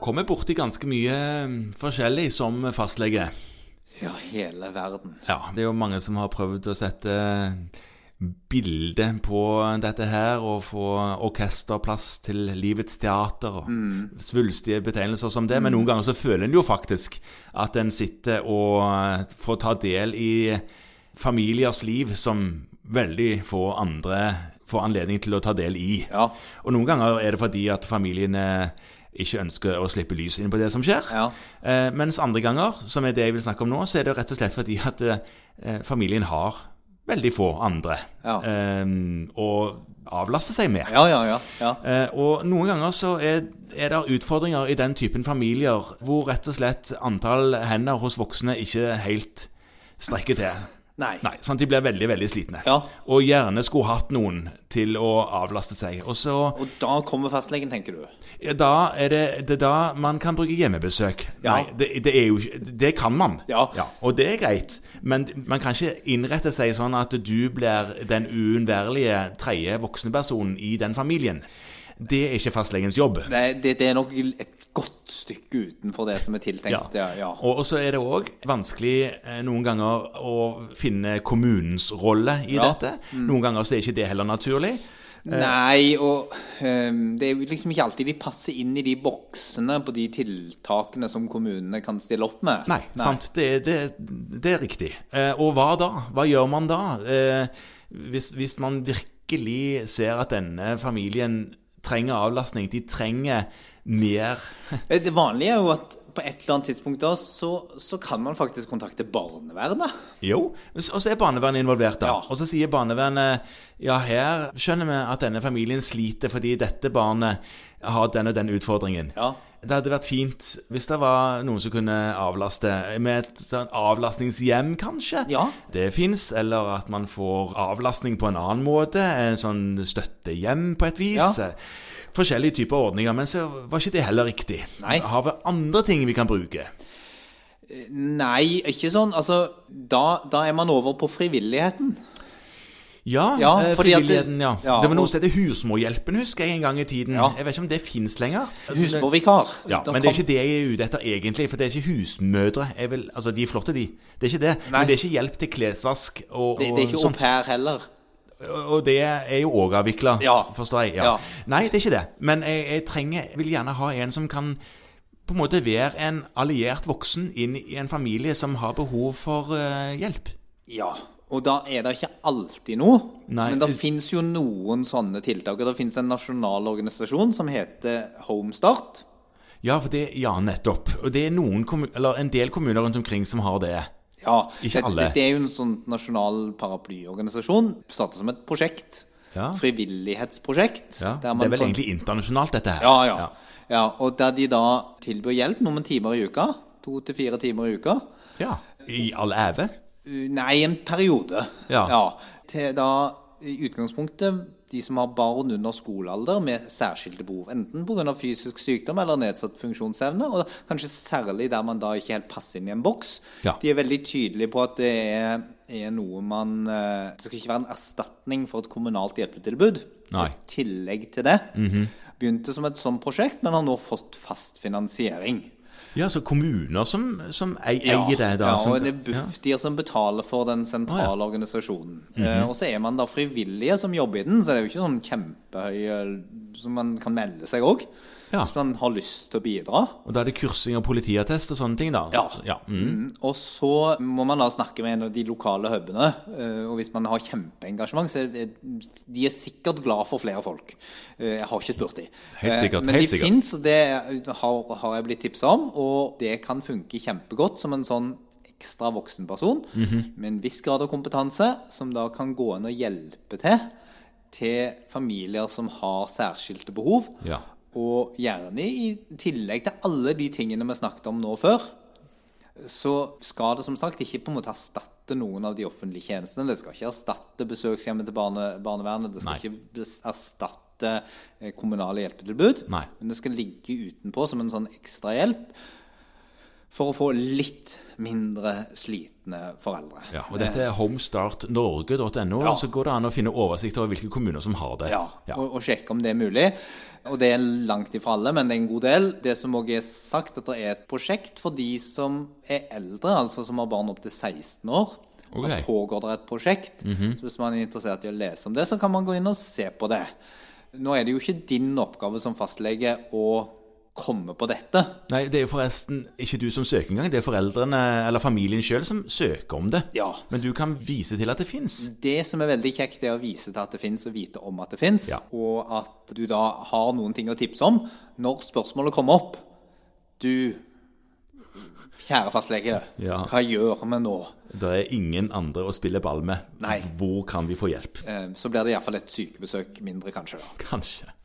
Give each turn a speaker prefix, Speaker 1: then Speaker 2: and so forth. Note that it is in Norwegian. Speaker 1: Kommer borti ganske mye mm, forskjellig som fastlege.
Speaker 2: Ja, hele verden.
Speaker 1: Ja, det er jo mange som har prøvd å sette mm, bilde på dette her, og få orkesterplass til livets teater, og
Speaker 2: Mm.
Speaker 1: svulstige betegnelser som det, men noen ganger så føler en jo faktisk at en sitter og mm, får ta del i familiers liv som veldig få andre får anledning til å ta del i.
Speaker 2: Ja.
Speaker 1: Og noen ganger er det fordi at familiene ikke ønsker å slippe lys inn på det som skjer.
Speaker 2: Ja.
Speaker 1: Eh, mens andre ganger, som er det jeg vil snakke om nå, så er det rett og slett fordi at eh, eh, familien har veldig få andre
Speaker 2: Ja.
Speaker 1: eh, å avlaste seg med.
Speaker 2: Ja, ja, ja. ja.
Speaker 1: Eh, og noen ganger så er, er det utfordringer i den typen familier hvor rett og slett antall hender hos voksne ikke helt strekker til.
Speaker 2: Nei.
Speaker 1: Nei, sånn at de blir veldig, veldig slitne.
Speaker 2: Ja.
Speaker 1: Og gjerne skulle hatt noen til å avlaste seg. Og så
Speaker 2: Og da kommer fastlegen, tenker du.
Speaker 1: ja, Da er det, det er da man kan bruke hjemmebesøk.
Speaker 2: Ja.
Speaker 1: Nei, det, det er jo ikke Det kan man.
Speaker 2: Ja.
Speaker 1: Og det er greit, men man kan ikke innrette seg sånn at du blir den uunnværlige tredje voksne personen i den familien. Det er ikke fastlegens jobb.
Speaker 2: Det, det, det er nok et godt stykke utenfor det som er tiltenkt. Ja. ja.
Speaker 1: Og og så er det òg vanskelig eh, noen ganger å finne kommunens rolle i
Speaker 2: Ja. Mm.
Speaker 1: dette. Noen ganger så er ikke det heller naturlig.
Speaker 2: eh, Nei, og ehm, det er jo liksom ikke alltid de passer inn i de boksene på de tiltakene som kommunene kan stille opp med.
Speaker 1: Nei, sant. Det, det, det er riktig. Eh, og hva da? Hva gjør man da? Eh, hvis, hvis man virkelig ser at denne familien trenger avlastning, de trenger mer
Speaker 2: Eh, Det vanlige er jo at på et eller annet tidspunkt da, så, så kan man faktisk kontakte barnevernet.
Speaker 1: Jo, og så er barnevernet involvert da.
Speaker 2: Ja.
Speaker 1: Og så sier barnevernet ja, her skjønner vi at denne familien sliter fordi dette barnet har den og den utfordringen.
Speaker 2: Ja.
Speaker 1: Det hadde vært fint hvis det var noen som kunne avlaste med et sånn avlastningshjem, kanskje.
Speaker 2: Ja.
Speaker 1: Det fins, eller at man får avlastning på en annen måte, en sånn støttehjem på et vis.
Speaker 2: Ja.
Speaker 1: Forskjellige typer ordninger, men så var ikke det heller riktig.
Speaker 2: Nei.
Speaker 1: Har vi andre ting vi kan bruke?
Speaker 2: Nei, ikke sånn. Altså, da, da er man over på frivilligheten.
Speaker 1: Ja,
Speaker 2: Ja,
Speaker 1: eh,
Speaker 2: fordi at det-
Speaker 1: frivilligheten, ja.
Speaker 2: ja,
Speaker 1: Det var
Speaker 2: og-
Speaker 1: noe som heter Husmorhjelpen, husker jeg en gang i tiden.
Speaker 2: Ja.
Speaker 1: Jeg vet ikke om det fins lenger.
Speaker 2: Altså, Husmorvikar.
Speaker 1: Ja,
Speaker 2: Da
Speaker 1: men det er
Speaker 2: kom-
Speaker 1: ikke det jeg er ute etter egentlig, for det er ikke husmødre. Jeg vil, altså, de er flotte, de. Det er ikke det.
Speaker 2: Nei.
Speaker 1: Men det er ikke hjelp til klesvask og,
Speaker 2: det, det er ikke
Speaker 1: og
Speaker 2: au pair heller.
Speaker 1: Og og det er jo òg avvikla,
Speaker 2: Ja.
Speaker 1: forstår jeg. Ja.
Speaker 2: Ja.
Speaker 1: Nei, det er ikke det. Men jeg, jeg trenger, vil gjerne ha en som kan på en måte være en alliert voksen inn i en familie som har behov for eh, hjelp.
Speaker 2: Ja. Og da er det ikke alltid noe.
Speaker 1: Nei.
Speaker 2: Men det fins jo noen sånne tiltak. Og det fins en nasjonal organisasjon som heter Homestart.
Speaker 1: Ja, for det, ja, nettopp. Og det er noen kommu- eller en del kommuner rundt omkring som har det.
Speaker 2: Ja,
Speaker 1: Ikke
Speaker 2: det,
Speaker 1: alle.
Speaker 2: Det, det er jo en sånn nasjonal paraplyorganisasjon. Startet som et prosjekt.
Speaker 1: Ja.
Speaker 2: Frivillighetsprosjekt.
Speaker 1: Ja.
Speaker 2: der
Speaker 1: det
Speaker 2: man
Speaker 1: er vel
Speaker 2: kan-
Speaker 1: egentlig internasjonalt, dette her.
Speaker 2: Ja, ja. ja. Og der de da tilbyr hjelp noen timer i uka. To til fire timer i uka.
Speaker 1: Ja. I all æve.
Speaker 2: Uh, Nei, en periode.
Speaker 1: Ja.
Speaker 2: Til da i utgangspunktet de som har barn under skolealder med særskilte behov. Enten pga. fysisk sykdom eller nedsatt funksjonsevne. Og kanskje særlig der man da ikke helt passer inn i en boks.
Speaker 1: Ja.
Speaker 2: De er veldig tydelige på at det er, er noe man eh, Det skal ikke være en erstatning for et kommunalt hjelpetilbud.
Speaker 1: Nei. Mhm.
Speaker 2: I tillegg til det. Begynte som et sånt prosjekt, men har nå fått fast finansiering.
Speaker 1: Ja, så kommuner som, som ei-
Speaker 2: Ja,
Speaker 1: eier det, da.
Speaker 2: Ja,
Speaker 1: som,
Speaker 2: og det er Bufdir som betaler for den sentrale organisasjonen.
Speaker 1: Mhm.
Speaker 2: Eh, Og så er man da frivillige som jobber i den, så det er jo ikke sånn kjempehøy eh, som man kan melde seg òg.
Speaker 1: Ja.
Speaker 2: Hvis man har lyst til å bidra.
Speaker 1: Og da er det kursing og politiattest og sånne ting, da?
Speaker 2: Ja.
Speaker 1: mm.
Speaker 2: Mm, Og så må man da snakke med en av de lokale hubene. eh, Og hvis man har kjempeengasjement, så er det- de er sikkert glad for flere folk. Eh, Jeg har ikke spurt de.
Speaker 1: Helt
Speaker 2: Eh,
Speaker 1: sikkert,
Speaker 2: Men
Speaker 1: helt
Speaker 2: de
Speaker 1: sikkert.
Speaker 2: fins, og det har, har jeg blitt tipsa om. Og det kan funke kjempegodt som en sånn ekstra voksen person
Speaker 1: Mhm.
Speaker 2: med en viss grad av kompetanse, som da kan gå inn og hjelpe til til familier som har særskilte behov.
Speaker 1: Ja.
Speaker 2: Og gjerne i tillegg til alle de tingene vi snakket om nå før så skal det som sagt ikke på en måte erstatte noen av de offentlige tjenestene. Det skal ikke erstatte besøkshjemmet til barne, barnevernet. Det skal
Speaker 1: Nei.
Speaker 2: ikke bes- erstatte eh, kommunale hjelpetilbud.
Speaker 1: Nei.
Speaker 2: Men det skal ligge utenpå som en sånn ekstra hjelp. for å få litt mindre slitne foreldre.
Speaker 1: Ja, og dette er homestartnorge.no.
Speaker 2: Ja.
Speaker 1: og Så går det an å finne oversikt over hvilke kommuner som har det.
Speaker 2: Ja, Og, og sjekke om det er mulig. Og det er langt ifra alle, men det er en god del. Det som òg er sagt, at det er et prosjekt for de som er eldre, altså som har barn opptil 16 år.
Speaker 1: Ok.
Speaker 2: Da pågår det et prosjekt. Så hvis man er interessert i å lese om det, så kan man gå inn og se på det. Nå er det jo ikke din oppgave som fastlege å komme på dette.
Speaker 1: Nei, det er jo forresten ikke du som søker engang. Det er foreldrene eller familien sjøl som søker om det.
Speaker 2: Ja.
Speaker 1: Men du kan vise til at det fins.
Speaker 2: Det som er veldig kjekt, det er å vise til at det fins, og vite om at det fins.
Speaker 1: Ja.
Speaker 2: Og at du da har noen ting å tipse om når spørsmålet kommer opp. Du, kjære fastlege,
Speaker 1: Ja.
Speaker 2: hva gjør vi nå?
Speaker 1: Det er ingen andre å spille ball med.
Speaker 2: Nei.
Speaker 1: Hvor kan vi få hjelp?
Speaker 2: Eh, Så blir det iallfall et sykebesøk mindre, kanskje. da.
Speaker 1: Kanskje.